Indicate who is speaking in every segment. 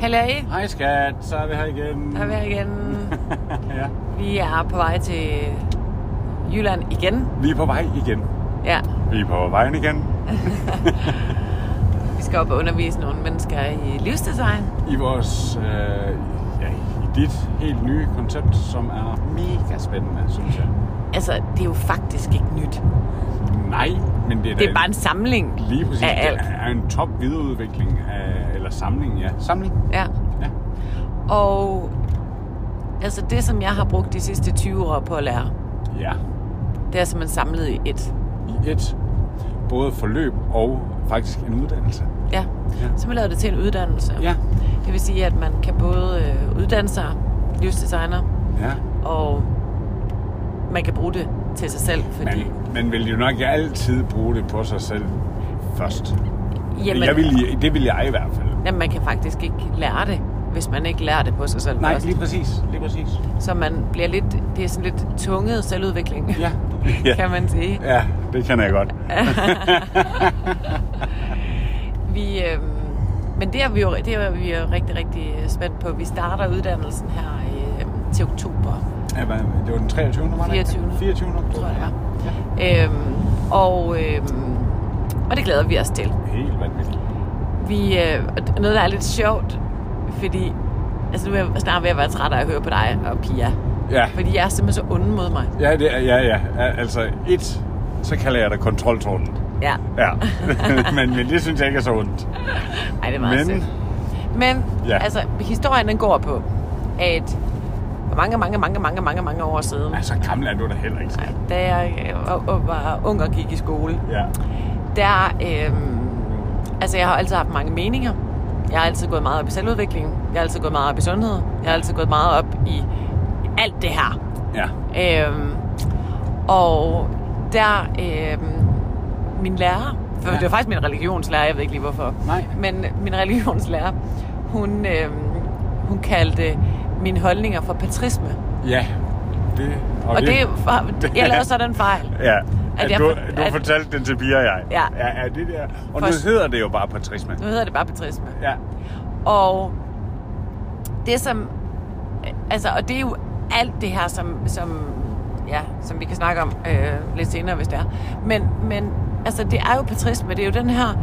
Speaker 1: Halløj.
Speaker 2: Hej skat, så er vi her igen.
Speaker 1: Der er vi her igen.
Speaker 2: ja.
Speaker 1: Vi er på vej til Jylland igen.
Speaker 2: Vi er på vej igen.
Speaker 1: Ja,
Speaker 2: Vi er på vejen igen.
Speaker 1: vi skal op og undervise nogle mennesker i livsdesign.
Speaker 2: I vores, øh, ja, i dit helt nye koncept, som er mega spændende, synes jeg.
Speaker 1: Altså, det er jo faktisk ikke nyt.
Speaker 2: Nej, men det er, da
Speaker 1: Det er bare en samling
Speaker 2: lige præcis,
Speaker 1: af alt.
Speaker 2: Det er en top videreudvikling af, eller samling, ja. Samling?
Speaker 1: Ja.
Speaker 2: Ja.
Speaker 1: Og altså det, som jeg har brugt de sidste 20 år på at lære,
Speaker 2: Ja,
Speaker 1: det er simpelthen samlet i et.
Speaker 2: i et både forløb og faktisk en uddannelse.
Speaker 1: Ja.
Speaker 2: Ja.
Speaker 1: Så vi lavede det til en uddannelse.
Speaker 2: Ja.
Speaker 1: Det vil sige, at man kan både øh, uddanne sig livsdesigner,
Speaker 2: Ja.
Speaker 1: og man kan bruge det til sig selv, fordi...
Speaker 2: Man, man vil jo nok altid bruge det på sig selv først.
Speaker 1: Jamen,
Speaker 2: Jeg vil, det vil jeg i hvert fald.
Speaker 1: jamen, man kan faktisk ikke lære det, hvis man ikke lærer det på sig selv
Speaker 2: Nej,
Speaker 1: først.
Speaker 2: lige præcis. Lige præcis.
Speaker 1: Så man bliver lidt... Det er sådan lidt tunget selvudvikling,
Speaker 2: Ja. ja.
Speaker 1: kan man sige.
Speaker 2: Ja, det kan jeg godt.
Speaker 1: Vi, øh, men det er, vi jo, det er vi jo rigtig, rigtig spændt på. Vi starter uddannelsen her øh, til oktober,
Speaker 2: Ja, hvad, det var den 23. var det ikke?
Speaker 1: 24.
Speaker 2: 24.
Speaker 1: tror
Speaker 2: oktober.
Speaker 1: jeg. Ja. Øh, og, øh, og det glæder vi os til.
Speaker 2: Helt vanvittigt.
Speaker 1: Vi, øh, og det- noget, der er lidt sjovt, fordi... Altså, nu er jeg snart ved at være træt af at høre på dig og Pia.
Speaker 2: Ja.
Speaker 1: Fordi jeg er simpelthen så onde mod mig.
Speaker 2: Ja, det, er- ja, ja. Al- Altså, et, så kalder jeg det kontroltårnet.
Speaker 1: Ja.
Speaker 2: Ja. men, men det synes jeg ikke er så ondt.
Speaker 1: Ej, det er meget
Speaker 2: Men-
Speaker 1: sødt. Men, ja.
Speaker 2: Ja.
Speaker 1: altså, historien den går på, at for mange, mange, mange, mange, mange, mange år siden,
Speaker 2: Altså, gammel er du da heller ikke. skat.
Speaker 1: da jeg øh, var- var ung og gik i skole,
Speaker 2: Ja.
Speaker 1: der, øhm, altså jeg har altid haft mange meninger. Jeg har altid gået meget op i selvudvikling. Jeg har altid gået meget op i sundhed. Jeg har altid gået meget op i alt det her.
Speaker 2: Ja.
Speaker 1: Øhm, og der, øhm, min lærer, for
Speaker 2: Ja.
Speaker 1: det var faktisk min religionslærer, jeg ved ikke lige hvorfor.
Speaker 2: Nej.
Speaker 1: Men min religionslærer, hun, øhm, hun kaldte mine holdninger for patrisme.
Speaker 2: Ja. Det,
Speaker 1: Og det, var, jeg lavede så den fejl.
Speaker 2: Ja.
Speaker 1: At
Speaker 2: At
Speaker 1: jeg
Speaker 2: du,
Speaker 1: for-
Speaker 2: du
Speaker 1: at-
Speaker 2: fortalte den til Pia og jeg.
Speaker 1: Ja.
Speaker 2: ja, ja det der. Og nu
Speaker 1: For-
Speaker 2: hedder det jo bare patrisme.
Speaker 1: Nu hedder det bare patrisme.
Speaker 2: Ja.
Speaker 1: Og det som... Altså, og det er jo alt det her, som, som, ja, som vi kan snakke om øh, lidt senere, hvis det er. Men, men altså, det er jo patrisme. Det er jo den her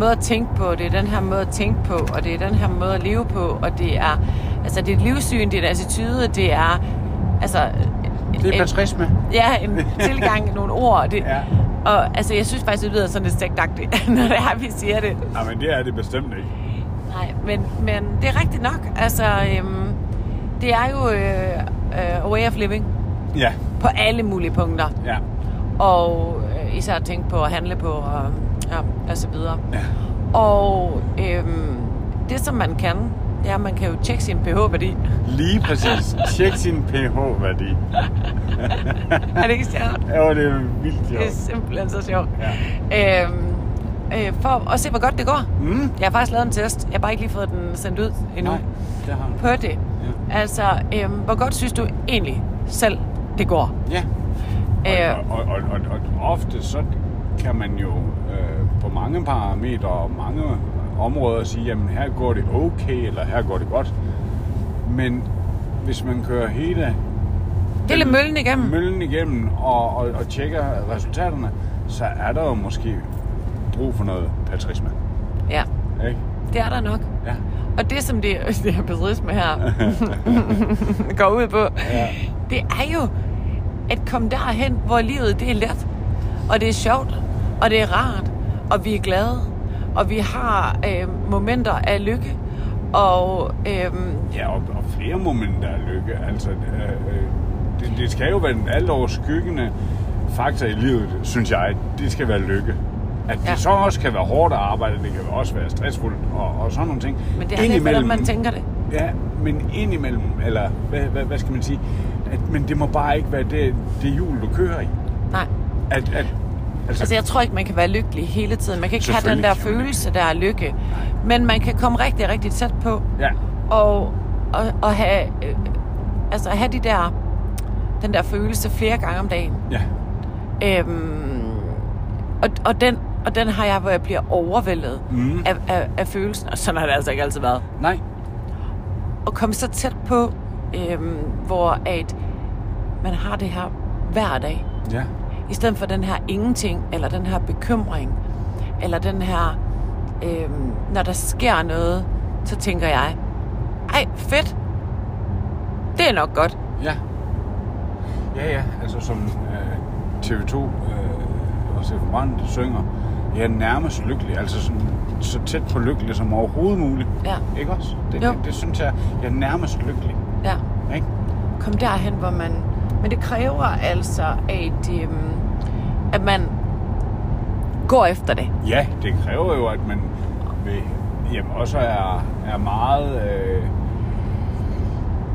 Speaker 1: måde at tænke på, det er den her måde at tænke på, og det er den her måde at leve på, og det er, altså, det er et livssyn, det er en attitude, det er, altså...
Speaker 2: Det er
Speaker 1: en-
Speaker 2: patrisme.
Speaker 1: Ja, en tilgang, nogle ord. og Det,
Speaker 2: Ja.
Speaker 1: Og altså, jeg synes faktisk, det lyder sådan lidt sektagtigt, når det er, vi siger det.
Speaker 2: Nej, men det er det bestemt ikke.
Speaker 1: Nej, men, men det er rigtigt nok. Altså, øhm, det er jo øh, øh, a way of living
Speaker 2: Ja.
Speaker 1: på alle mulige punkter.
Speaker 2: Ja.
Speaker 1: Og øh, især at tænke på at handle på og, ja, og så videre.
Speaker 2: Ja.
Speaker 1: Og øhm, det, som man kan, det er, at man kan jo tjekke sin pH-værdi.
Speaker 2: Lige præcis. Tjek sin pH-værdi.
Speaker 1: er det ikke sjovt?
Speaker 2: Ja, det er vildt
Speaker 1: Det er
Speaker 2: sjovt.
Speaker 1: simpelthen så sjovt. Ja. Øhm, øh, for at se, hvor godt det går.
Speaker 2: Mm.
Speaker 1: Jeg har faktisk lavet en test. Jeg har bare ikke lige fået den sendt ud endnu.
Speaker 2: Nej, det har
Speaker 1: på det. Ja. Altså, øhm, hvor godt synes du egentlig selv, det går?
Speaker 2: Ja.
Speaker 1: Øh,
Speaker 2: Og, og, og, og, og ofte så kan man jo øh, på mange parametre og mange områder sige, jamen her går det okay, eller her går det godt. Men hvis man kører hele
Speaker 1: Hele
Speaker 2: den-
Speaker 1: møllen igennem.
Speaker 2: møllen igennem og, og, og tjekker resultaterne, så er der jo måske brug for noget patrisme.
Speaker 1: Ja,
Speaker 2: Ikke?
Speaker 1: det er der nok.
Speaker 2: Ja.
Speaker 1: Og det, som det, det her bedrisme her går ud på, ja. det er jo at komme derhen, hvor livet det er let, og det er sjovt, og det er rart, og vi er glade, og vi har øh, momenter af lykke, og øh,
Speaker 2: Ja, og, og flere momenter af lykke. Altså, øh, øh, det, det skal jo være den alt overskyggende faktor i livet, synes jeg. Det skal være lykke. At det
Speaker 1: Ja.
Speaker 2: så også kan være hårdt at arbejde, det kan også være stressfuldt og, og sådan nogle ting.
Speaker 1: men det er lidt, hvordan man tænker det.
Speaker 2: Ja, men indimellem, eller hvad, hvad, hvad skal man sige? At, men det må bare ikke være det, det hjul, du kører i.
Speaker 1: Nej.
Speaker 2: At, at,
Speaker 1: Altså, jeg tror ikke, man kan være lykkelig hele tiden. Man kan ikke have den
Speaker 2: Selvfølgelig
Speaker 1: der
Speaker 2: kan man ikke.
Speaker 1: følelse, der er lykke. Men man kan komme rigtig, rigtig tæt på.
Speaker 2: Ja,
Speaker 1: Og, og, og have, øh, altså, have de der, den der følelse flere gange om dagen.
Speaker 2: ja,
Speaker 1: Øhm, og, og, den, og den har jeg, hvor jeg bliver overvældet mm. af, af, af følelsen. Og sådan har det altså ikke altid været.
Speaker 2: nej.
Speaker 1: at komme så tæt på, øhm, hvor at man har det her hver dag.
Speaker 2: Ja.
Speaker 1: I stedet for den her ingenting, eller den her bekymring, eller den her, øhm, når der sker noget, så tænker jeg, ej, fedt, det er nok godt.
Speaker 2: Ja. Ja, ja. Altså som øh, TV2 øh, og Steffen Brandt synger, jeg er nærmest lykkelig. Altså sådan, så tæt på lykkelig som overhovedet muligt.
Speaker 1: Ja.
Speaker 2: Ikke også? Det,
Speaker 1: Jo.
Speaker 2: det, det synes jeg, jeg er nærmest lykkelig.
Speaker 1: Ja,
Speaker 2: Ikke?
Speaker 1: kom derhen, hvor man... Men det kræver altså, at, øhm, at man går efter det.
Speaker 2: Ja, det kræver jo, at man vil, jamen, også er, er meget... Øh,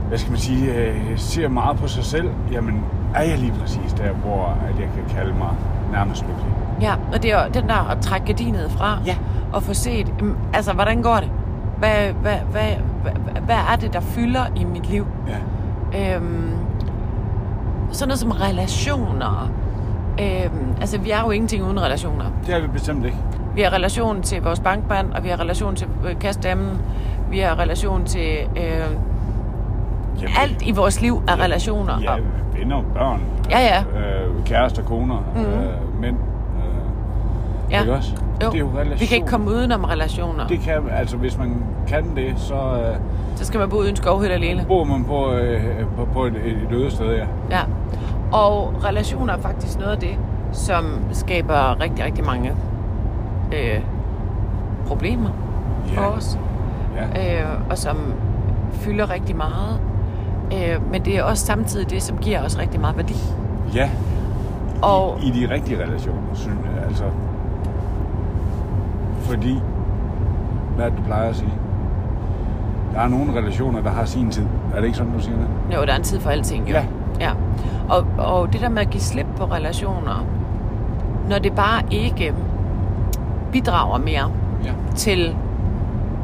Speaker 2: hvad skal man sige, øh, ser meget på sig selv, jamen er jeg lige præcis der, hvor at jeg kan kalde mig nærmest lykkelig.
Speaker 1: Ja, og det er jo den der at trække gardinet fra
Speaker 2: Ja.
Speaker 1: og få set, jamen, altså, hvordan går det? Hvad, hvad, hvad, hvad, hvad er det, der fylder i mit liv?
Speaker 2: Ja.
Speaker 1: Øhm, sådan noget som relationer. Øhm, altså, vi er jo ingenting uden relationer.
Speaker 2: Det er vi bestemt ikke.
Speaker 1: Vi har relation til vores bankband, og vi har relation til øh, kastdammen. Vi har relation til... Øh,
Speaker 2: Jamen,
Speaker 1: alt i vores liv er relationer.
Speaker 2: Ja,
Speaker 1: og-
Speaker 2: venner, børn,
Speaker 1: Ja, ja. Mhm.
Speaker 2: Øh, kærester, koner, mm. øh, mænd. Øh,
Speaker 1: ja.
Speaker 2: Ikke også?
Speaker 1: Jo.
Speaker 2: Det er jo relationer.
Speaker 1: Vi kan ikke komme udenom relationer.
Speaker 2: Det kan, altså hvis man kan det, så øh,
Speaker 1: Så skal man bo uden skovhytte alene.
Speaker 2: bor man på, øh, på, på et, et øde sted, ja.
Speaker 1: Ja. Og relationer er faktisk noget af det, som skaber rigtig, rigtig mange øh, problemer for os.
Speaker 2: ja.
Speaker 1: Øh, og som fylder rigtig meget. Øh, men det er også samtidig det, som giver os rigtig meget værdi.
Speaker 2: ja.
Speaker 1: Og
Speaker 2: I, I de rigtige relationer, synes jeg, altså. Fordi, hvad er det, du plejer at sige? Der er nogle relationer, der har sin tid. Er det ikke sådan, du siger det?
Speaker 1: jo, der er en tid for alting, jo.
Speaker 2: Ja.
Speaker 1: ja. Og, og det der med at give slip på relationer, når det bare ikke bidrager mere,
Speaker 2: Ja.
Speaker 1: til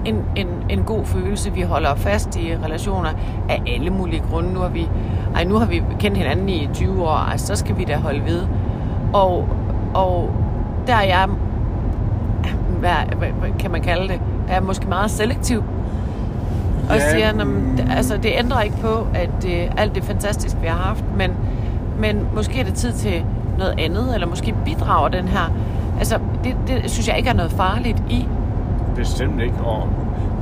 Speaker 1: en, en, en god følelse. Vi holder fast i relationer af alle mulige grunde. Nu har vi, ej, nu har vi kendt hinanden i 20 år, altså, så skal vi da holde ved. Og, og der er jeg, hvad, hvad, hvad kan man kalde det, der er jeg måske meget selektiv. Og
Speaker 2: Ja,
Speaker 1: siger, "Nå, men,
Speaker 2: mm.
Speaker 1: d- altså, det ændrer ikke på, at øh, alt det fantastiske, vi har haft, men, men måske er det tid til noget andet, eller måske bidrager den her. Altså, det, det synes jeg ikke er noget farligt i,
Speaker 2: Bestemt ikke. Og,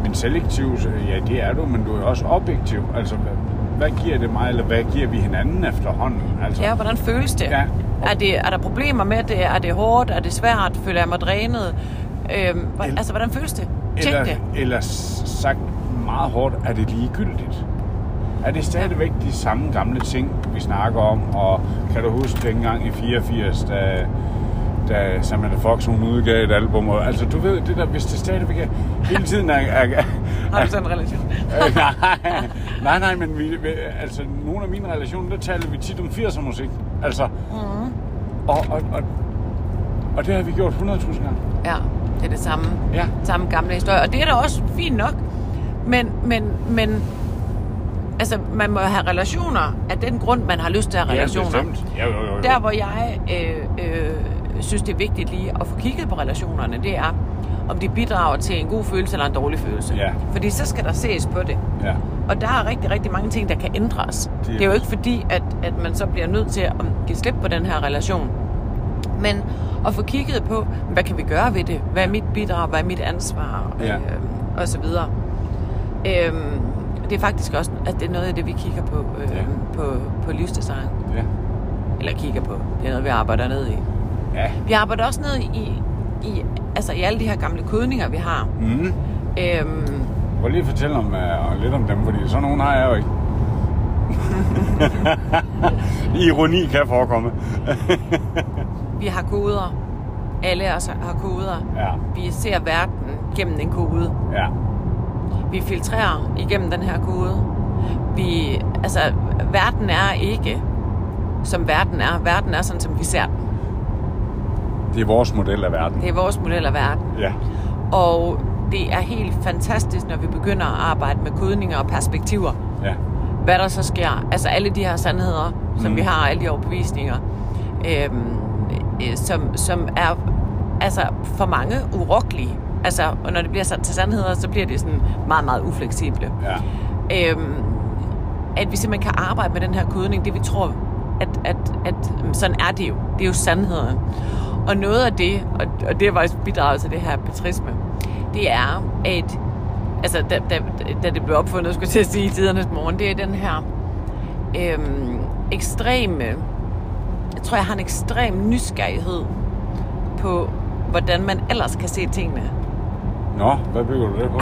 Speaker 2: men selektiv, så- ja, det er du, men du er også objektiv. Altså, hvad, hvad giver det mig, eller hvad giver vi hinanden efterhånden? Altså,
Speaker 1: Ja, hvordan føles det?
Speaker 2: Ja.
Speaker 1: Er, det, er der problemer med det? Er det hårdt? Er det svært? Føler jeg mig drænet? Øhm, hvor,
Speaker 2: Eller-
Speaker 1: altså, hvordan føles det? Tjek
Speaker 2: eller,
Speaker 1: det.
Speaker 2: eller s- sagt meget hårdt, er det ligegyldigt? Er det stadigvæk de samme gamle ting, vi snakker om? Og kan du huske dengang i 84, da, da Samantha Fox hun udgav et album? Og, altså, du ved, det der, hvis det stadigvæk er, hele tiden er, er,
Speaker 1: Har du sådan en relation?
Speaker 2: Øh, nej, nej, nej, men vi, vi- altså, nogle af mine relationer, der taler vi tit om 80'er musik. Altså, mm. og, og, og, og det har vi gjort 100.000 gange.
Speaker 1: Ja, det er det samme.
Speaker 2: Ja.
Speaker 1: Samme gamle historie. Og det er da også fint nok. Men, men, men altså, man må have relationer af den grund, man har lyst til at have relationer.
Speaker 2: Ja, bestemt. Ja, jo, jo, jo.
Speaker 1: Der, hvor jeg øh, øh, synes, det er vigtigt lige at få kigget på relationerne, det er, om de bidrager til en god følelse eller en dårlig følelse.
Speaker 2: Ja.
Speaker 1: Fordi så skal der ses på det.
Speaker 2: Ja,
Speaker 1: Og der er rigtig, rigtig mange ting, der kan ændres.
Speaker 2: Det er
Speaker 1: Det er jo
Speaker 2: rigtigt.
Speaker 1: ikke fordi, at, at man så bliver nødt til at give slip på den her relation. Men at få kigget på, hvad kan vi gøre ved det? Hvad er mit bidrag? Hvad er mit ansvar?
Speaker 2: Ja.
Speaker 1: Øh, og så videre. Øhm, det er faktisk også at det er noget af det, vi kigger på, øh,
Speaker 2: Ja.
Speaker 1: på, på livsdesign.
Speaker 2: ja.
Speaker 1: Eller kigger på. Det er noget, vi arbejder ned i.
Speaker 2: Ja.
Speaker 1: Vi arbejder også ned i, i, altså i alle de her gamle kodninger, vi har.
Speaker 2: Mm.
Speaker 1: Øhm,
Speaker 2: Prøv lige at fortælle om, uh, lidt om dem, fordi sådan nogen har jeg jo ikke. Ironi kan forekomme.
Speaker 1: Vi har koder. Alle os har koder.
Speaker 2: Ja,
Speaker 1: Vi ser verden gennem en kode.
Speaker 2: ja,
Speaker 1: Vi filtrerer igennem den her kode. Vi, altså, verden er ikke, som verden er. Verden er sådan, som vi ser den.
Speaker 2: det er vores model af verden.
Speaker 1: Det er vores model af verden.
Speaker 2: Ja,
Speaker 1: Og det er helt fantastisk, når vi begynder at arbejde med kodninger og perspektiver.
Speaker 2: ja,
Speaker 1: Hvad der så sker. Altså alle de her sandheder, som
Speaker 2: Mm.
Speaker 1: mm. vi har, alle de overbevisninger, øhm, øh, som, som er altså for mange urokkelige. Altså, og når det bliver sat til sandheder, så bliver det sådan meget, meget ufleksible.
Speaker 2: ja.
Speaker 1: øhm, at vi simpelthen kan arbejde med den her kodning, det vi tror, at, at, at øhm, sådan er det jo. Det er jo sandheden. Og noget af det, og, og det var bidraget til det her patrisme, det er, at altså, da, da, da det blev opfundet, skulle jeg til at sige i tidernes morgen, det er den her øhm, ekstreme, jeg tror, jeg har en ekstrem nysgerrighed på, hvordan man ellers kan se tingene.
Speaker 2: Nå, hvad bygger du det på?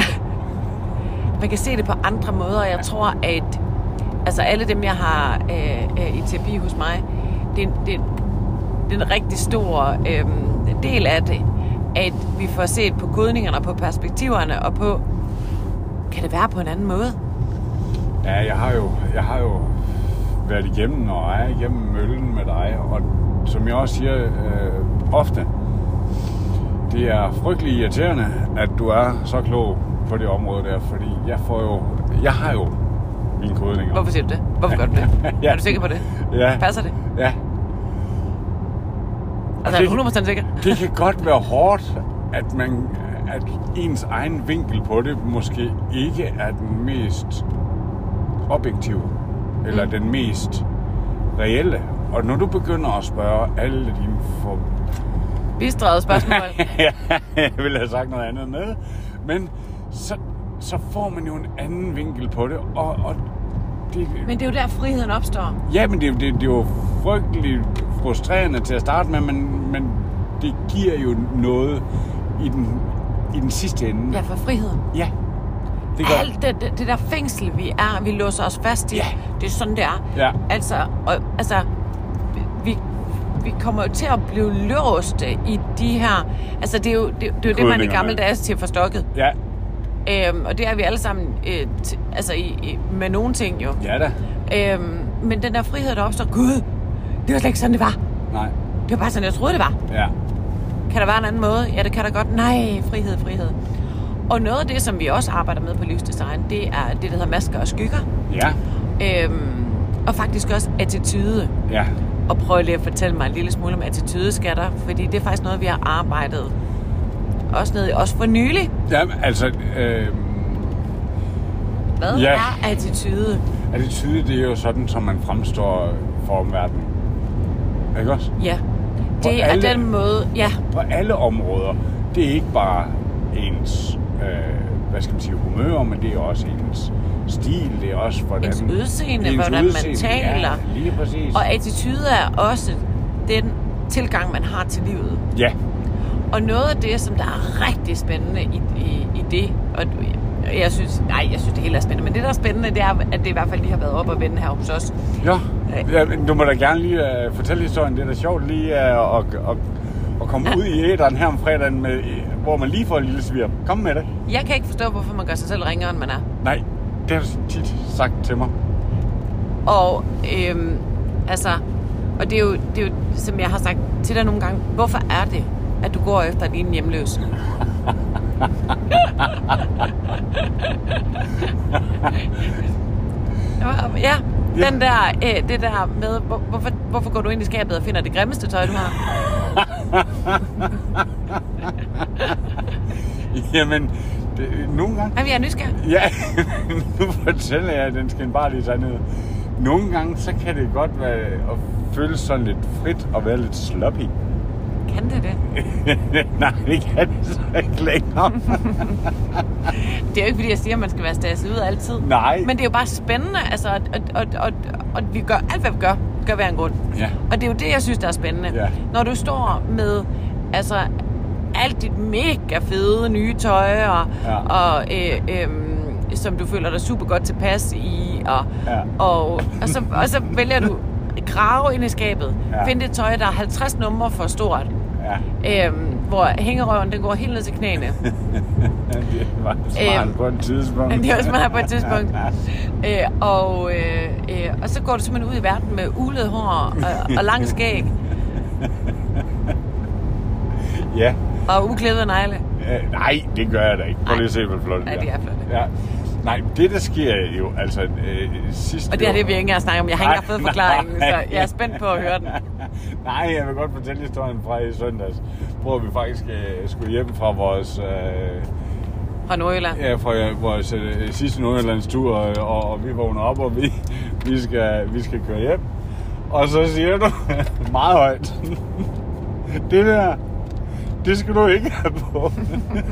Speaker 1: man kan se det på andre måder. Jeg tror, at altså alle dem, jeg har øh, øh, i terapi hos mig, det, er- det, det er en rigtig stor øh, del af det, at vi får set på kodningerne, og på perspektiverne og på, kan det være på en anden måde?
Speaker 2: Ja, jeg har jo, jeg har jo været igennem og er igennem møllen med dig, og som jeg også siger øh, ofte, det er frygtelig irriterende, at du er så klog på det område der, fordi jeg får jo, jeg har jo mine kodninger.
Speaker 1: Hvorfor siger du det? Hvorfor gør du det?
Speaker 2: Ja.
Speaker 1: Er du sikker på det?
Speaker 2: Ja.
Speaker 1: Passer det?
Speaker 2: Ja.
Speaker 1: Altså, er
Speaker 2: det-
Speaker 1: du 100% sikker?
Speaker 2: Det kan godt være hårdt, at man at ens egen vinkel på det måske ikke er den mest objektive, eller
Speaker 1: Mm.
Speaker 2: den mest reelle. Og når du begynder at spørge alle dine for...
Speaker 1: Bistrædet spørgsmål.
Speaker 2: ja, jeg ville have sagt noget andet med. Men så, så får man jo en anden vinkel på det, og, og det,
Speaker 1: Men det er jo der, friheden opstår.
Speaker 2: Ja, men det, det, det er jo frygtelig frustrerende til at starte med, men, men det giver jo noget i den, i den sidste ende.
Speaker 1: Ja, for friheden.
Speaker 2: ja. Det gør
Speaker 1: Alt det, det, det der fængsel, vi er, vi låser os fast i,
Speaker 2: Ja.
Speaker 1: det er sådan, det er.
Speaker 2: Ja.
Speaker 1: Altså, og, altså vi, vi kommer jo til at blive låste i de her... Altså, det er jo det, det, er jo det man i
Speaker 2: Kodningerne.
Speaker 1: gamle dage siger for stokket.
Speaker 2: Ja,
Speaker 1: Øhm, og det er vi alle sammen øh, t- altså i, i, med nogle ting jo.
Speaker 2: ja da.
Speaker 1: Øhm, men den der frihed, der opstår, gud, det var slet ikke sådan, det var.
Speaker 2: Nej,
Speaker 1: Det var bare sådan, jeg troede, det var.
Speaker 2: ja.
Speaker 1: Kan der være en anden måde? Ja, det kan der godt. Nej, frihed, frihed. Og noget af det, som vi også arbejder med på livsdesign, det er det, der hedder masker og skygger.
Speaker 2: Ja,
Speaker 1: Øhm, og faktisk også attitude.
Speaker 2: ja.
Speaker 1: Og prøv lige at fortælle mig en lille smule om attitude, skatter, fordi det er faktisk noget, vi har arbejdet også ned i, også for nylig.
Speaker 2: Jamen, altså, øh,
Speaker 1: Hvad
Speaker 2: Ja.
Speaker 1: er attitude?
Speaker 2: er det tydeligt, det er jo sådan, som man fremstår for omverdenen. Ikke også?
Speaker 1: Ja,
Speaker 2: På
Speaker 1: det er
Speaker 2: alle-
Speaker 1: den måde, ja,
Speaker 2: på alle områder. Det er ikke bare ens, øh, hvad skal man sige, humør, men det er også ens stil, det er også hvordan...
Speaker 1: Ens udseende, hvordan man taler.
Speaker 2: Ja, lige præcis.
Speaker 1: og attitude er også den tilgang, man har til livet.
Speaker 2: Ja,
Speaker 1: Og noget af det, som der er rigtig spændende i, i, i det, og jeg synes, nej, jeg synes det hele er spændende, men det, der er spændende, det er, at det i hvert fald lige har været op og vende her hos os.
Speaker 2: ja.
Speaker 1: Nej.
Speaker 2: ja men du må da gerne lige øh, fortælle historien. Det er da sjovt lige øh, at, at, at komme ud i æderen her om fredagen, med, øh, hvor man lige får en lille svirp. Kom med det.
Speaker 1: Jeg kan ikke forstå, hvorfor man gør sig selv ringere, end man er.
Speaker 2: Nej, det har du tit sagt til mig.
Speaker 1: Og øhm, altså, og det er, jo, det er jo, som jeg har sagt til dig nogle gange, hvorfor er det, at du går efter din hjemløse? ja,
Speaker 2: Ja.
Speaker 1: den der, øh, det der med, hvor, hvorfor, hvorfor går du ind i skabet og finder det grimmeste tøj, du har?
Speaker 2: Jamen, det, nogle gange...
Speaker 1: Jamen, jeg er nysgerrig.
Speaker 2: Ja, nu fortæller jeg den skinbarlige sandhed. Nogle gange, så kan det godt være at føle sådan lidt frit og være lidt sloppy.
Speaker 1: Kan det det?
Speaker 2: Nej, det kan det så ikke længere.
Speaker 1: Det er jo ikke, fordi jeg siger, at man skal være stasset ud altid.
Speaker 2: Nej.
Speaker 1: Men det er jo bare spændende, altså, og, og, og, og, og vi gør alt, hvad vi gør, gør hver en grund.
Speaker 2: Ja.
Speaker 1: Og det er jo det, jeg synes, der er spændende.
Speaker 2: Ja.
Speaker 1: Når du står med altså, alt dit mega fede nye tøj, og,
Speaker 2: Ja.
Speaker 1: og øh, øh, som du føler dig super godt tilpas i, og,
Speaker 2: Ja.
Speaker 1: og, og, så, og så vælger du at grave ind i skabet,
Speaker 2: Ja.
Speaker 1: finde det tøj, der er 50 numre for stort,
Speaker 2: Ja,
Speaker 1: øh, hvor hængerøven den går helt ned til knæene.
Speaker 2: det var smart
Speaker 1: Øhm,
Speaker 2: på et tidspunkt.
Speaker 1: Men det er også meget på et tidspunkt. Øh, og, øh, øh, og så går du simpelthen ud i verden med ulet hår og, og lang skæg
Speaker 2: ja.
Speaker 1: og uklædte negle.
Speaker 2: Øh, nej, det gør jeg da ikke. Prøv lige at se, hvor flot
Speaker 1: Nej,
Speaker 2: er.
Speaker 1: det er flot.
Speaker 2: Ja. Nej, det der sker jo, altså øh, sidste
Speaker 1: Og det er
Speaker 2: år-
Speaker 1: det, vi ikke engang snakker om. Jeg har ikke engang
Speaker 2: Nej,
Speaker 1: fået forklaringen, så
Speaker 2: nej.
Speaker 1: jeg er spændt på at høre den.
Speaker 2: Nej, jeg vil godt fortælle historien fra i søndags, hvor vi faktisk øh, skulle hjem fra vores øh,
Speaker 1: fra Nordjylland.
Speaker 2: Ja, fra vores øh, sidste Nordjyllandstur, og, og, og vi vågner op, og vi, vi, skal, vi skal køre hjem. Og så siger du meget højt, det der, det skal du ikke have på.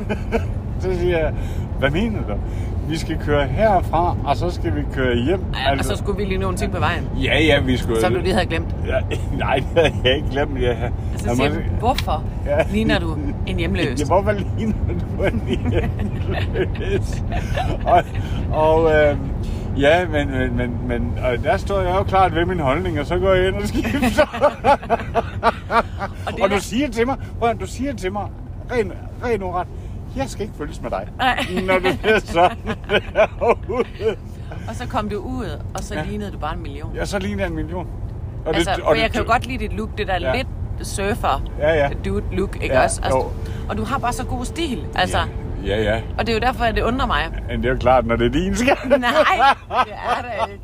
Speaker 2: så siger jeg, hvad mener du? Vi skal køre herfra, og så skal vi køre hjem. Altså,
Speaker 1: Ja, og så altså, skulle vi lige nogle ting på vejen,
Speaker 2: ja, ja, vi skulle...
Speaker 1: som du lige havde glemt.
Speaker 2: Ja, nej, det havde jeg ikke glemt. Jeg,
Speaker 1: Og
Speaker 2: jeg
Speaker 1: så Altså, siger
Speaker 2: må-
Speaker 1: du, hvorfor
Speaker 2: altså, Ja.
Speaker 1: ligner du en hjemløs?
Speaker 2: Ja, hvorfor ligner du en hjemløs? og, og øh, ja, men, men, men, men og der står jeg jo klart ved min holdning, og så går jeg ind og skifter.
Speaker 1: Og det
Speaker 2: og
Speaker 1: er-
Speaker 2: du siger til mig, prøv, at høre, du siger til mig, ren, ren og ret, jeg skal ikke følges med dig.
Speaker 1: Nej.
Speaker 2: Når du bliver sådan derude.
Speaker 1: Og så kom du ud, og så
Speaker 2: Ja.
Speaker 1: ja. lignede du bare en million.
Speaker 2: Ja, så ligner jeg en million. Og
Speaker 1: altså, for jeg kan jo
Speaker 2: det-
Speaker 1: godt lide dit look, det der
Speaker 2: Ja.
Speaker 1: ja. lidt surfer
Speaker 2: Ja, ja.
Speaker 1: dude look, ikke
Speaker 2: Ja,
Speaker 1: også?
Speaker 2: jo.
Speaker 1: Og, og du har bare så god stil, altså.
Speaker 2: Ja, ja.
Speaker 1: Og det er jo derfor, at det undrer mig.
Speaker 2: Men det er jo klart, når det er din skal.
Speaker 1: Nej, det er det ikke.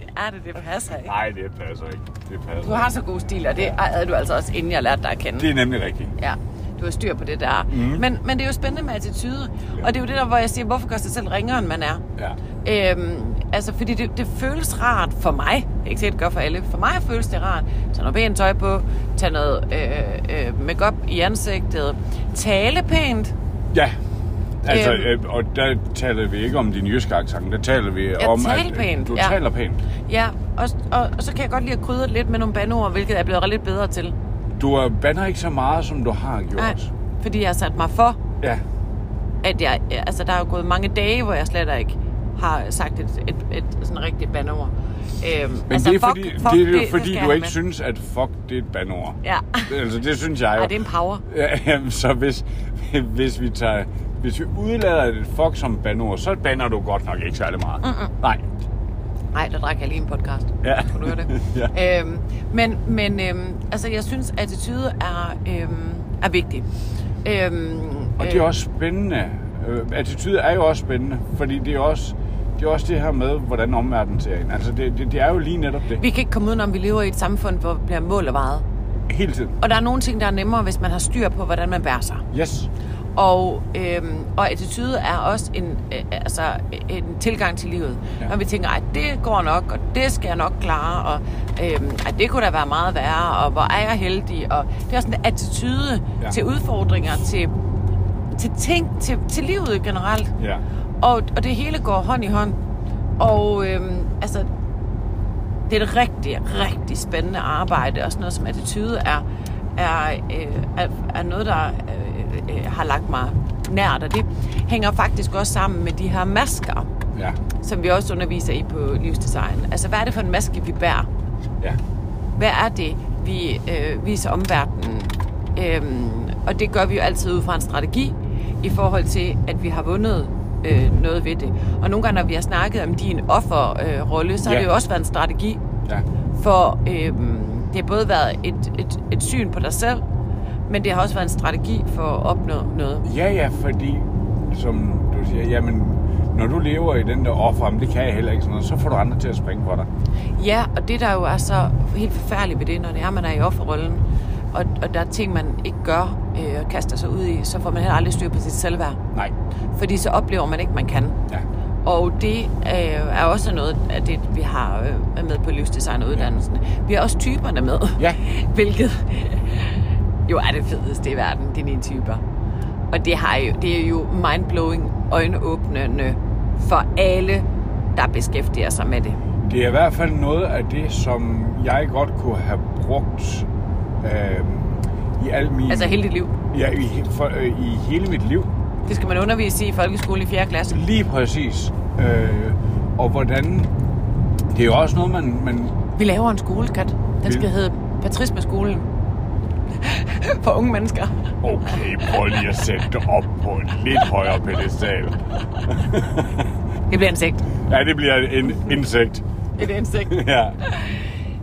Speaker 1: Det er det, det passer ikke.
Speaker 2: Nej, det passer ikke. Det passer.
Speaker 1: Du har så god stil, og det havde du altså også, inden jeg lærte dig at kende.
Speaker 2: Det Mhm. er nemlig rigtigt.
Speaker 1: Ja, du har styr på det der. Mm. Men, men det er jo spændende med attitude, og det er jo det der, hvor jeg siger, hvorfor gør sig selv ringere, end man er?
Speaker 2: Ja.
Speaker 1: Øhm, altså, fordi det, det føles rart for mig. Ikke til at det gør for alle. For mig føles det rart. Tag noget pænt tøj på. Tag noget øh, øh, makeup i ansigtet. Tale pænt.
Speaker 2: Ja. Altså,
Speaker 1: Øhm.
Speaker 2: øhm. og der taler vi ikke om din jyske accent, der taler vi
Speaker 1: Ja,
Speaker 2: om,
Speaker 1: tal
Speaker 2: øh,
Speaker 1: pænt,
Speaker 2: du
Speaker 1: ja.
Speaker 2: taler pænt.
Speaker 1: Ja, og, og, og så kan jeg godt lide at krydre det lidt med nogle bandeord, hvilket jeg er blevet lidt bedre til.
Speaker 2: Du øh, bander ikke så meget, som du har gjort.
Speaker 1: Nej, fordi jeg har sat mig for,
Speaker 2: Ja.
Speaker 1: at jeg... Altså, der er jo gået mange dage, hvor jeg slet ikke har sagt et, et, et sådan rigtigt bandeord. Øhm,
Speaker 2: Men altså, det er fordi, det er jo fordi
Speaker 1: skal
Speaker 2: du
Speaker 1: jeg
Speaker 2: ikke
Speaker 1: have
Speaker 2: synes, at fuck, det er et bandord.
Speaker 1: Ja.
Speaker 2: Altså, det synes jeg jo.
Speaker 1: Ej, det er en power.
Speaker 2: Ja, jamen, så hvis, hvis vi tager... Hvis vi udlader et fuck som bandord, så banner du godt nok ikke særlig meget. Mm-mm. Nej.
Speaker 1: Nej, der drak jeg lige en podcast.
Speaker 2: Ja.
Speaker 1: Kunne du høre det?
Speaker 2: Ja.
Speaker 1: øhm, men men øhm, altså, jeg synes, attitude er, øhm, er vigtig. Øhm,
Speaker 2: Og det er også spændende. Øh, Attitude er jo også spændende, fordi det er også det, er også det her med, hvordan omverdenen ser en. Altså, det, det, det er jo lige netop det.
Speaker 1: Vi kan ikke komme udenom, at vi lever i et samfund, hvor vi bliver mål og vejet.
Speaker 2: Hele tiden.
Speaker 1: Og der er nogle ting, der er nemmere, hvis man har styr på, hvordan man bærer sig.
Speaker 2: Yes.
Speaker 1: Og, øhm, og attitude er også en, øh, altså, en tilgang til livet.
Speaker 2: Ja.
Speaker 1: Ja. Når vi tænker, at det går nok, og det skal jeg nok klare, og øhm, ej, det kunne da være meget værre, og hvor er jeg heldig. Og det er sådan en attitude
Speaker 2: Ja.
Speaker 1: ja. til udfordringer, til, til ting, til, til livet generelt.
Speaker 2: Ja.
Speaker 1: Og, og det hele går hånd i hånd. Og øhm, altså, det er et rigtig, rigtig spændende arbejde, og sådan noget som attitude er, er, øh, er, er noget, der øh, øh, har lagt mig nært, og det hænger faktisk også sammen med de her masker,
Speaker 2: Ja.
Speaker 1: som vi også underviser i på livsdesign. Altså, hvad er det for en maske, vi bærer?
Speaker 2: Ja.
Speaker 1: Hvad er det, vi øh, viser omverdenen? Øhm, og det gør vi jo altid ud fra en strategi i forhold til, at vi har vundet øh, noget ved det. Og nogle gange, når vi har snakket om din offerrolle, øh, rolle, så har
Speaker 2: Ja.
Speaker 1: det jo også været en strategi
Speaker 2: Ja.
Speaker 1: for øhm, det har både været et, et, et syn på dig selv, men det har også været en strategi for at opnå noget.
Speaker 2: Ja, ja, fordi, som du siger, jamen, når du lever i den der offer, "Jamen, det kan jeg heller ikke sådan noget, så får du andre til at springe for dig.
Speaker 1: Ja, og det der jo er så helt forfærdeligt ved det, når det er, man er i offerrollen, og, og der er ting, man ikke gør øh, og kaster sig ud i, så får man heller aldrig styr på sit selvværd.
Speaker 2: Nej.
Speaker 1: Fordi så oplever man ikke, man kan.
Speaker 2: Ja.
Speaker 1: Og det øh, er også noget af det, vi har øh, er med på livsdesigneruddannelsen. Vi har også typerne med.
Speaker 2: Ja.
Speaker 1: Hvilket jo er det fedeste i verden, de ni typer. Og det, har jo, det er jo mindblowing, øjenåbnende for alle, der beskæftiger sig med det.
Speaker 2: Det er i hvert fald noget af det, som jeg godt kunne have brugt øh, i al min...
Speaker 1: Altså hele dit liv.
Speaker 2: Ja, i, he- for, øh, i hele mit liv.
Speaker 1: Det skal man undervise i i folkeskole i 4. klasse.
Speaker 2: Lige præcis. Øh, og hvordan... Det er jo også noget, man... man
Speaker 1: Vi laver en skolekat. Den skal
Speaker 2: Vil-
Speaker 1: hedde Patrisme-skolen. for unge mennesker.
Speaker 2: okay, prøv lige at sætte det op på en lidt højere pedestal.
Speaker 1: Det bliver en sekt.
Speaker 2: Ja, det bliver en insekt.
Speaker 1: Et insekt.
Speaker 2: Ja.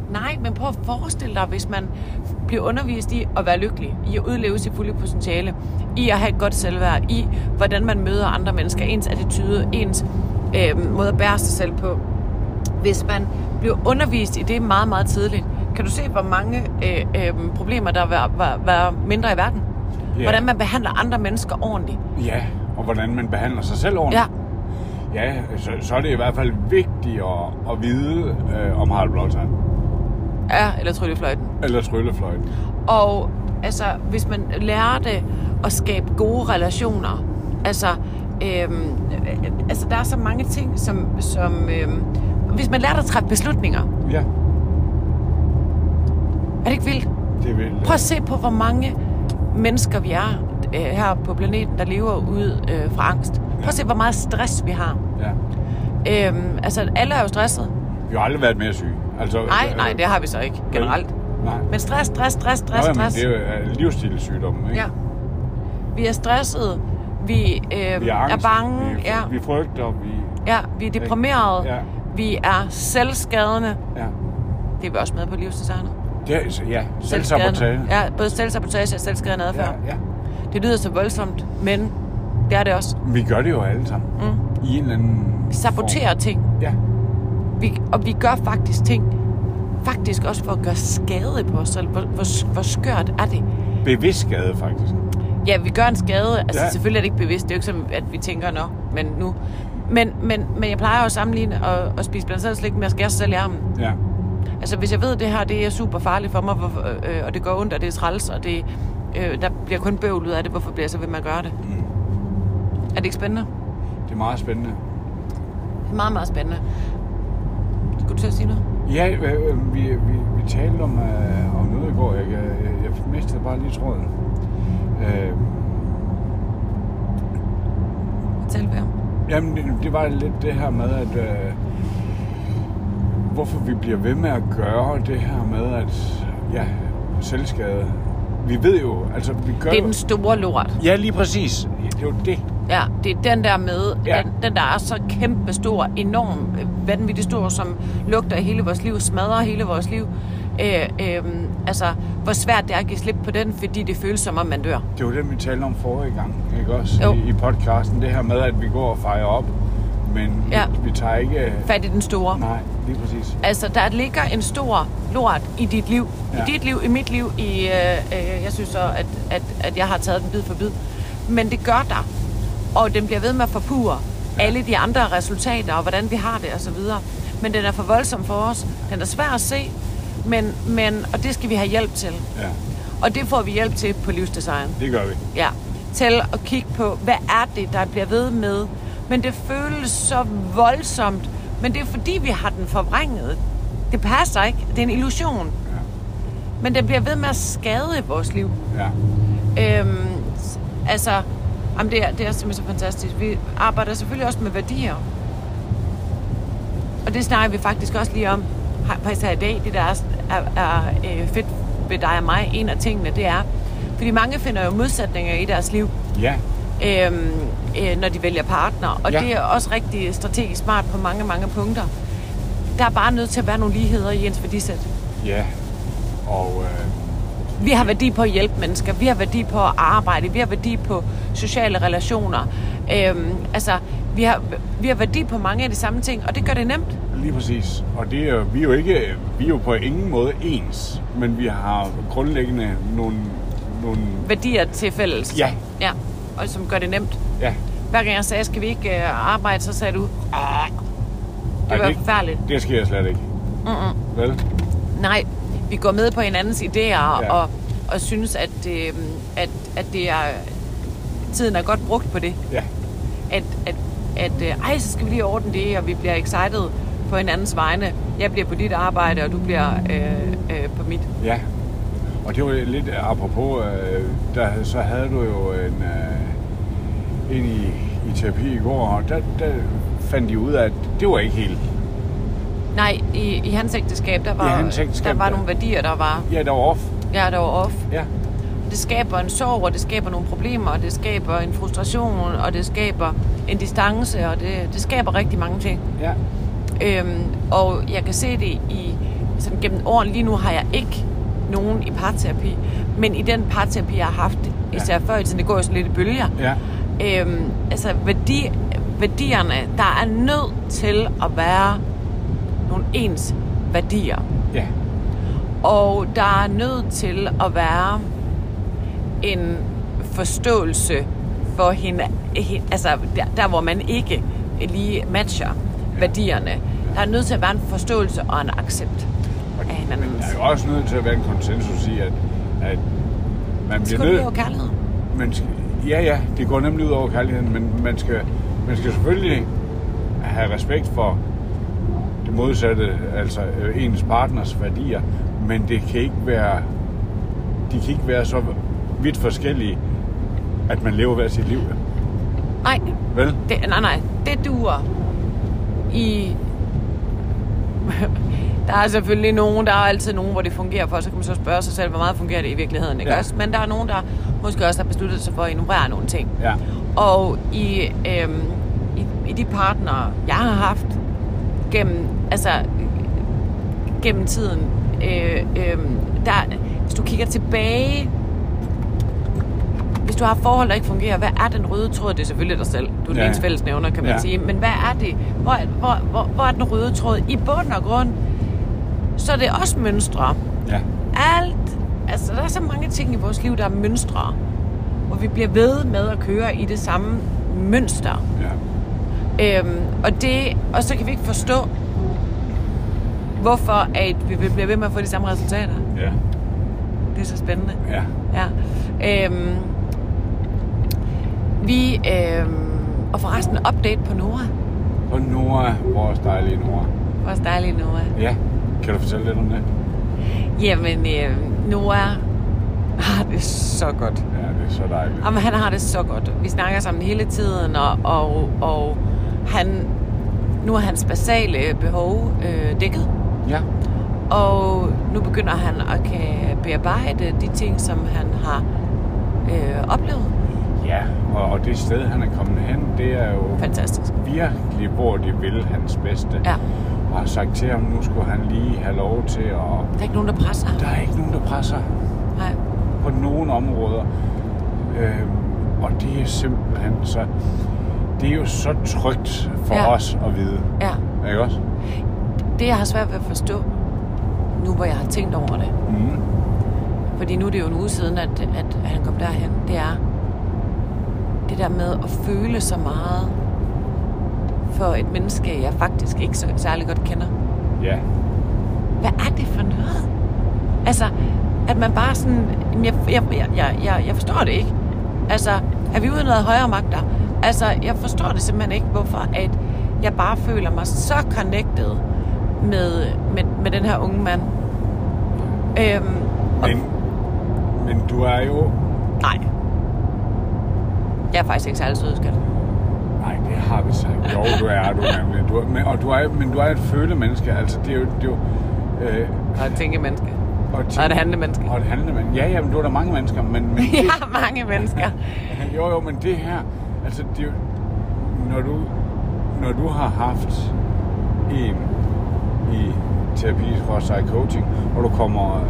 Speaker 1: Nej, men prøv at forestille dig, hvis man bliver undervist i at være lykkelig, i at udleve sit fulde potentiale, i at have et godt selvværd, i hvordan man møder andre mennesker, ens attitude, ens øh, måde at bære sig selv på. Hvis man bliver undervist i det meget, meget tidligt, kan du se, hvor mange øh, øh, problemer der var, var, var mindre i verden?
Speaker 2: Ja.
Speaker 1: Hvordan man behandler andre mennesker ordentligt.
Speaker 2: Ja, og hvordan man behandler sig selv ordentligt.
Speaker 1: Ja.
Speaker 2: Ja, så, så er det i hvert fald vigtigt at, at vide øh, om Harald Blåtand.
Speaker 1: Ja, eller tryllefløjten.
Speaker 2: Eller tryllefløjten.
Speaker 1: Og altså, hvis man lærer det at skabe gode relationer, altså, øhm, øh, altså der er så mange ting, som, som øhm, hvis man lærer dig at træffe beslutninger,
Speaker 2: Ja,
Speaker 1: er det ikke vildt?
Speaker 2: det vil
Speaker 1: Prøv at se på, hvor mange mennesker vi er øh, her på planeten, der lever ud øh, fra angst. Prøv at se, hvor meget stress vi har.
Speaker 2: Ja.
Speaker 1: Øhm, altså, alle er jo stresset.
Speaker 2: Vi har aldrig været mere syge. Altså,
Speaker 1: Nej,
Speaker 2: øh,
Speaker 1: nej, det har vi så ikke generelt.
Speaker 2: vel? Nej.
Speaker 1: Men stress, stress, stress,
Speaker 2: Nå,
Speaker 1: stress,
Speaker 2: jamen,
Speaker 1: stress.
Speaker 2: det er jo øh, livsstilssygdomme, ikke?
Speaker 1: Ja. Vi er stressede, vi, øh,
Speaker 2: Vi er, angst,
Speaker 1: er bange,
Speaker 2: vi,
Speaker 1: ja,
Speaker 2: vi frygter, vi...
Speaker 1: ja, vi er deprimerede,
Speaker 2: Ja.
Speaker 1: vi er selvskadende.
Speaker 2: Ja,
Speaker 1: Det er vi også med på livsdesignet.
Speaker 2: det er, altså- ja selvsabotage.
Speaker 1: Ja, både selvsabotage og selvskadende adfærd.
Speaker 2: ja, ja.
Speaker 1: Det lyder så voldsomt, men det er det også.
Speaker 2: Vi gør det jo alle sammen. Mm. I en eller anden...
Speaker 1: Vi saboterer
Speaker 2: form.
Speaker 1: ting,
Speaker 2: Ja,
Speaker 1: vi, og vi gør faktisk ting, faktisk også for at gøre skade på os selv. Hvor, hvor, hvor skørt er det?
Speaker 2: bevidst skade, faktisk.
Speaker 1: Ja, vi gør en skade. Altså, ja.
Speaker 2: Ja.
Speaker 1: selvfølgelig er det ikke bevidst. Det er jo ikke som, at vi tænker, nå, men nu. Men, men, men jeg plejer jo at sammenligne at, at spise blandt andet slik med at skære sig selv i armen.
Speaker 2: Ja,
Speaker 1: Altså, hvis jeg ved, at det her det er super farligt for mig, hvor, øh, og det går ondt, og det er træls, og det, øh, der bliver kun bøvl ud af det, hvorfor bliver jeg så ved med at gøre det? Mm. Er det ikke spændende?
Speaker 2: det er meget spændende.
Speaker 1: Det er meget, meget spændende. Skulle du til at sige noget?
Speaker 2: Ja, øh, øh, vi, vi, vi talte om, øh, om noget i går. Jeg, jeg, jeg mistede bare lige tråden. Øh,
Speaker 1: Tal ved
Speaker 2: jamen, det, det var lidt det her med, at... Øh, hvorfor vi bliver ved med at gøre det her med, at... Ja, selvskade. Vi ved jo, altså vi gør
Speaker 1: Det er
Speaker 2: jo-
Speaker 1: den store lort.
Speaker 2: Ja, lige præcis. Det er jo det.
Speaker 1: Ja, det er den der med, ja.
Speaker 2: Ja.
Speaker 1: den, den der er så kæmpe stor, enorm, øh, vanvittig stor, som lugter i hele vores liv, smadrer hele vores liv. Øh, øh, altså, hvor svært det er at give slip på den, fordi det føles som om, man dør.
Speaker 2: Det var det, vi talte om forrige gang, ikke også?
Speaker 1: Jo.
Speaker 2: I, I podcasten. Det her med, at vi går og fejrer op, men
Speaker 1: Ja.
Speaker 2: ja. vi tager ikke...
Speaker 1: Fat i den store.
Speaker 2: Nej, lige præcis.
Speaker 1: Altså, der ligger en stor lort i dit liv. Ja.
Speaker 2: Ja.
Speaker 1: I dit liv, i mit liv, i, øh, øh, jeg synes så, at, at, at jeg har taget den bid for bid. Men det gør der. Og den bliver ved med at forpure alle de andre resultater, og hvordan vi har det, og så videre. Men den er for voldsom for os. Den er svær at se, men, men, og det skal vi have hjælp til.
Speaker 2: Ja,
Speaker 1: Og det får vi hjælp til på livsdesign.
Speaker 2: det gør vi.
Speaker 1: Ja, til at kigge på, hvad er det, der bliver ved med. Men det føles så voldsomt. Men det er fordi, vi har den forvrænget. Det passer ikke. Det er en illusion.
Speaker 2: Ja.
Speaker 1: Men den bliver ved med at skade vores liv.
Speaker 2: Ja,
Speaker 1: Øhm, s- altså, jamen det, er, det er simpelthen så fantastisk. Vi arbejder selvfølgelig også med værdier. Og det snakker vi faktisk også lige om her- faktisk her i dag. Det, der er, er, er øh, fedt ved dig og mig, en af tingene, det er, fordi mange finder jo modsætninger i deres liv
Speaker 2: ja.
Speaker 1: øhm, øh, når de vælger partner. Og ja.
Speaker 2: Ja.
Speaker 1: det er også rigtig strategisk smart på mange, mange punkter. Der er bare nødt til at være nogle ligheder i ens værdisæt.
Speaker 2: ja. Og øh,
Speaker 1: Vi har værdi på at hjælpe mennesker, vi har værdi på at arbejde, vi har værdi på sociale relationer. Øhm, altså, vi har, vi har værdi på mange af de samme ting, og det gør det nemt.
Speaker 2: lige præcis. Og det er, vi er jo ikke, vi er jo på ingen måde ens, men vi har grundlæggende nogle, nogle
Speaker 1: Værdier til fælles.
Speaker 2: Ja.
Speaker 1: ja. Og som gør det nemt.
Speaker 2: ja,
Speaker 1: Hver gang jeg sagde, skal vi ikke øh, arbejde, så sagde du, "Ah,
Speaker 2: Ej,
Speaker 1: det var
Speaker 2: det-
Speaker 1: forfærdeligt.
Speaker 2: det sker slet ikke. Mm-mm. Vel?
Speaker 1: Nej, vi går med på hinandens idéer ja.
Speaker 2: Ja.
Speaker 1: og, og synes, at, øh, at, at det er, tiden er godt brugt på det.
Speaker 2: Ja,
Speaker 1: At, at, at øh, ej, så skal vi lige ordne det, og vi bliver excited på hinandens vegne. Jeg bliver på dit arbejde, og du bliver øh, øh, på mit.
Speaker 2: Ja, og det var lidt apropos, øh, der, så havde du jo en, øh, en i, i terapi i går, og der, der fandt de ud af, at det var ikke helt...
Speaker 1: Nej, i, i hans ægteskab, der var,
Speaker 2: I hans ægteskab,
Speaker 1: der var
Speaker 2: ja.
Speaker 1: nogle værdier, der var,
Speaker 2: Ja, der var off.
Speaker 1: ja, der var off.
Speaker 2: Ja,
Speaker 1: Det skaber en sorg, og det skaber nogle problemer, og det skaber en frustration, og det skaber en distance, og det, det skaber rigtig mange ting.
Speaker 2: ja,
Speaker 1: Øhm, og jeg kan se det i, sådan gennem årene. Lige nu har jeg ikke nogen i parterapi, men i den parterapi, jeg har haft, især før i tiden, det går jo sådan lidt i bølger.
Speaker 2: ja,
Speaker 1: Øhm, altså værdi, værdierne, der er nødt til at være nogle ens værdier.
Speaker 2: ja,
Speaker 1: Og der er nødt til at være en forståelse for hende, he- altså der, der hvor man ikke lige matcher værdierne. Der er nødt til at være en forståelse og en accept
Speaker 2: Og
Speaker 1: af
Speaker 2: men
Speaker 1: hinanden.
Speaker 2: der er jo også nødt til at være en konsensus i, at, at man
Speaker 1: Så
Speaker 2: bliver
Speaker 1: går det
Speaker 2: nødt...
Speaker 1: ud over kærligheden.
Speaker 2: man skal, ja, ja, det går nemlig ud over kærligheden, men man skal, man skal selvfølgelig have respekt for det modsatte, altså øh, ens partners værdier, men det kan ikke være, de kan ikke være så vidt forskellige, at man lever hver sit liv.
Speaker 1: Nej,
Speaker 2: Vel?
Speaker 1: det, nej, nej, det duer i... Der er selvfølgelig nogen, der er altid nogen, hvor det fungerer for, så kan man så spørge sig selv, hvor meget fungerer det i virkeligheden, ikke
Speaker 2: Ja.
Speaker 1: ja. også? Men der er nogen, der måske også har besluttet sig for at ignorere nogle ting.
Speaker 2: Ja.
Speaker 1: Og i, øhm, i, i de partnere, jeg har haft gennem, altså, øh, gennem tiden, øh, øh, der, hvis du kigger tilbage, hvis du har forhold, der ikke fungerer, hvad er den røde tråd? Det er selvfølgelig dig selv. Du er ja.
Speaker 2: Ja.
Speaker 1: den ens fælles nævner, kan man
Speaker 2: Ja.
Speaker 1: ja. sige. Men hvad er det? Hvor, er- hvor, hvor, hvor er den røde tråd? I bund og grund, så er det også mønstre
Speaker 2: Ja.
Speaker 1: alt. Altså, der er så mange ting i vores liv, der er mønstre. Hvor vi bliver ved med at køre i det samme mønster.
Speaker 2: Ja.
Speaker 1: Øhm, og, det, og så kan vi ikke forstå, hvorfor at vi bliver ved med at få de samme resultater.
Speaker 2: Ja.
Speaker 1: Det er så spændende.
Speaker 2: Ja.
Speaker 1: Ja. Øhm, vi, øhm, og forresten update på Nora.
Speaker 2: Og Nora, vores dejlige Nora.
Speaker 1: Vores dejlige Nora.
Speaker 2: Ja. Kan du fortælle lidt om det?
Speaker 1: Jamen, øhm, Nora har det så godt.
Speaker 2: Ja, det er så dejligt.
Speaker 1: Jamen, han har det så godt. Vi snakker sammen hele tiden, og, og, og han, nu er hans basale behov øh, dækket.
Speaker 2: Ja.
Speaker 1: Og nu begynder han at kan bearbejde de ting, som han har øh, oplevet.
Speaker 2: Ja, og, og det sted, han er kommet hen, det er jo...
Speaker 1: Fantastisk.
Speaker 2: virkelig, hvor de vil hans bedste.
Speaker 1: Ja.
Speaker 2: Og har sagt til ham, nu skulle han lige have lov til at...
Speaker 1: Der er ikke nogen, der presser ham.
Speaker 2: Der er ikke nogen, der presser
Speaker 1: Nej.
Speaker 2: på nogen områder. Øhm, og det er simpelthen så... Det er jo så trygt for
Speaker 1: Ja.
Speaker 2: os at vide.
Speaker 1: Ja.
Speaker 2: Ikke også?
Speaker 1: Det, jeg har svært ved at forstå, nu hvor jeg har tænkt over det,
Speaker 2: Mm.
Speaker 1: fordi nu er det jo en uge siden, at, at han kom derhen, det er det der med at føle så meget for et menneske, jeg faktisk ikke så, særlig godt kender.
Speaker 2: Ja.
Speaker 1: Hvad er det for noget? Altså, at man bare sådan, jamen, jeg, jeg, jeg- jeg, jeg, jeg forstår det ikke. Altså, er vi ude i noget højere magter? Altså, jeg forstår det simpelthen ikke, hvorfor at jeg bare føler mig så connected med, med, med den her unge mand. Øhm, og-
Speaker 2: Men, men du er jo...
Speaker 1: Nej. Jeg er faktisk ikke særlig sød, skat.
Speaker 2: Nej, det har vi sagt. Jo, du er du, nemlig. Du er, men, og du er, men du er et følemenneske. Altså, det er jo... Det er jo øh,
Speaker 1: Og et tænkemenneske.
Speaker 2: og,
Speaker 1: Og et handlemenneske.
Speaker 2: Og et handlemenneske. Ja, ja, men du er der mange mennesker, men, men
Speaker 1: Jeg har mange mennesker.
Speaker 2: jo, jo, men det her, altså det, er jo- når du, når du har haft en i terapi for sig coaching, og du kommer,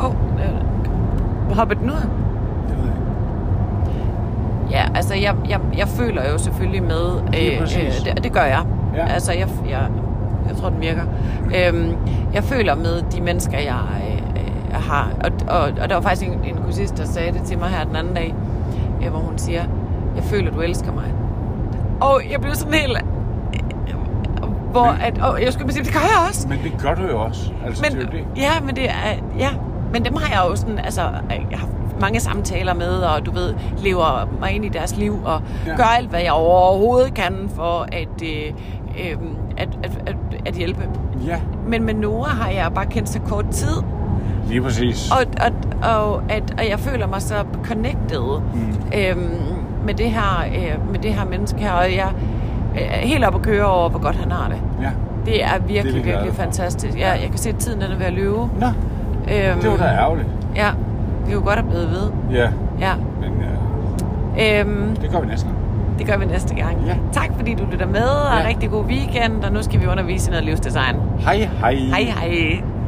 Speaker 1: Åh, oh, øh, hopper den ud?
Speaker 2: det ved jeg ikke,
Speaker 1: Ja, altså jeg, jeg, jeg føler jo selvfølgelig med, øh,
Speaker 2: Lige præcis.
Speaker 1: det, det gør jeg.
Speaker 2: Ja.
Speaker 1: Altså jeg, jeg, jeg tror, den virker. Øhm, jeg føler med de mennesker, jeg øh, øh, har. Og, og, og der var faktisk en, en kursist, der sagde det til mig her den anden dag, øh, hvor hun siger, jeg føler, du elsker mig. Og jeg blev sådan helt... øh, Hvor
Speaker 2: Men-
Speaker 1: at, og jeg skulle sige, det gør jeg også.
Speaker 2: men det gør du jo også, altså det er jo det.
Speaker 1: Ja, men det er, ja. Men dem har jeg jo sådan, altså, jeg har mange samtaler med, og du ved, lever mig ind i deres liv, og
Speaker 2: Ja.
Speaker 1: ja. gør alt, hvad jeg overhovedet kan for at, øh, øh, at, at, at, at hjælpe.
Speaker 2: Ja,
Speaker 1: Men med Nora har jeg bare kendt så kort tid,
Speaker 2: lige præcis.
Speaker 1: og, og, og, at, og jeg føler mig så connected
Speaker 2: Mm.
Speaker 1: mm. øhm, med, det her, øh, med det her menneske her, og jeg øh, er helt op at køre over, hvor godt han har det.
Speaker 2: Ja.
Speaker 1: Det er
Speaker 2: Det er vi
Speaker 1: virkelig, det
Speaker 2: glade
Speaker 1: virkelig
Speaker 2: for.
Speaker 1: fantastisk. Jeg, jeg kan se, at tiden den er ved at løbe.
Speaker 2: Nå,
Speaker 1: Øhm,
Speaker 2: det var da ærgerligt.
Speaker 1: Ja, vi kunne godt have blevet ved.
Speaker 2: Ja,
Speaker 1: Ja.
Speaker 2: men øh,
Speaker 1: Øhm,
Speaker 2: det gør vi næsten.
Speaker 1: det gør vi næste gang.
Speaker 2: Ja.
Speaker 1: Tak fordi du lytter med, og
Speaker 2: Ja.
Speaker 1: rigtig god weekend. Og nu skal vi undervise i noget livsdesign.
Speaker 2: Hej, hej.
Speaker 1: Hej hej.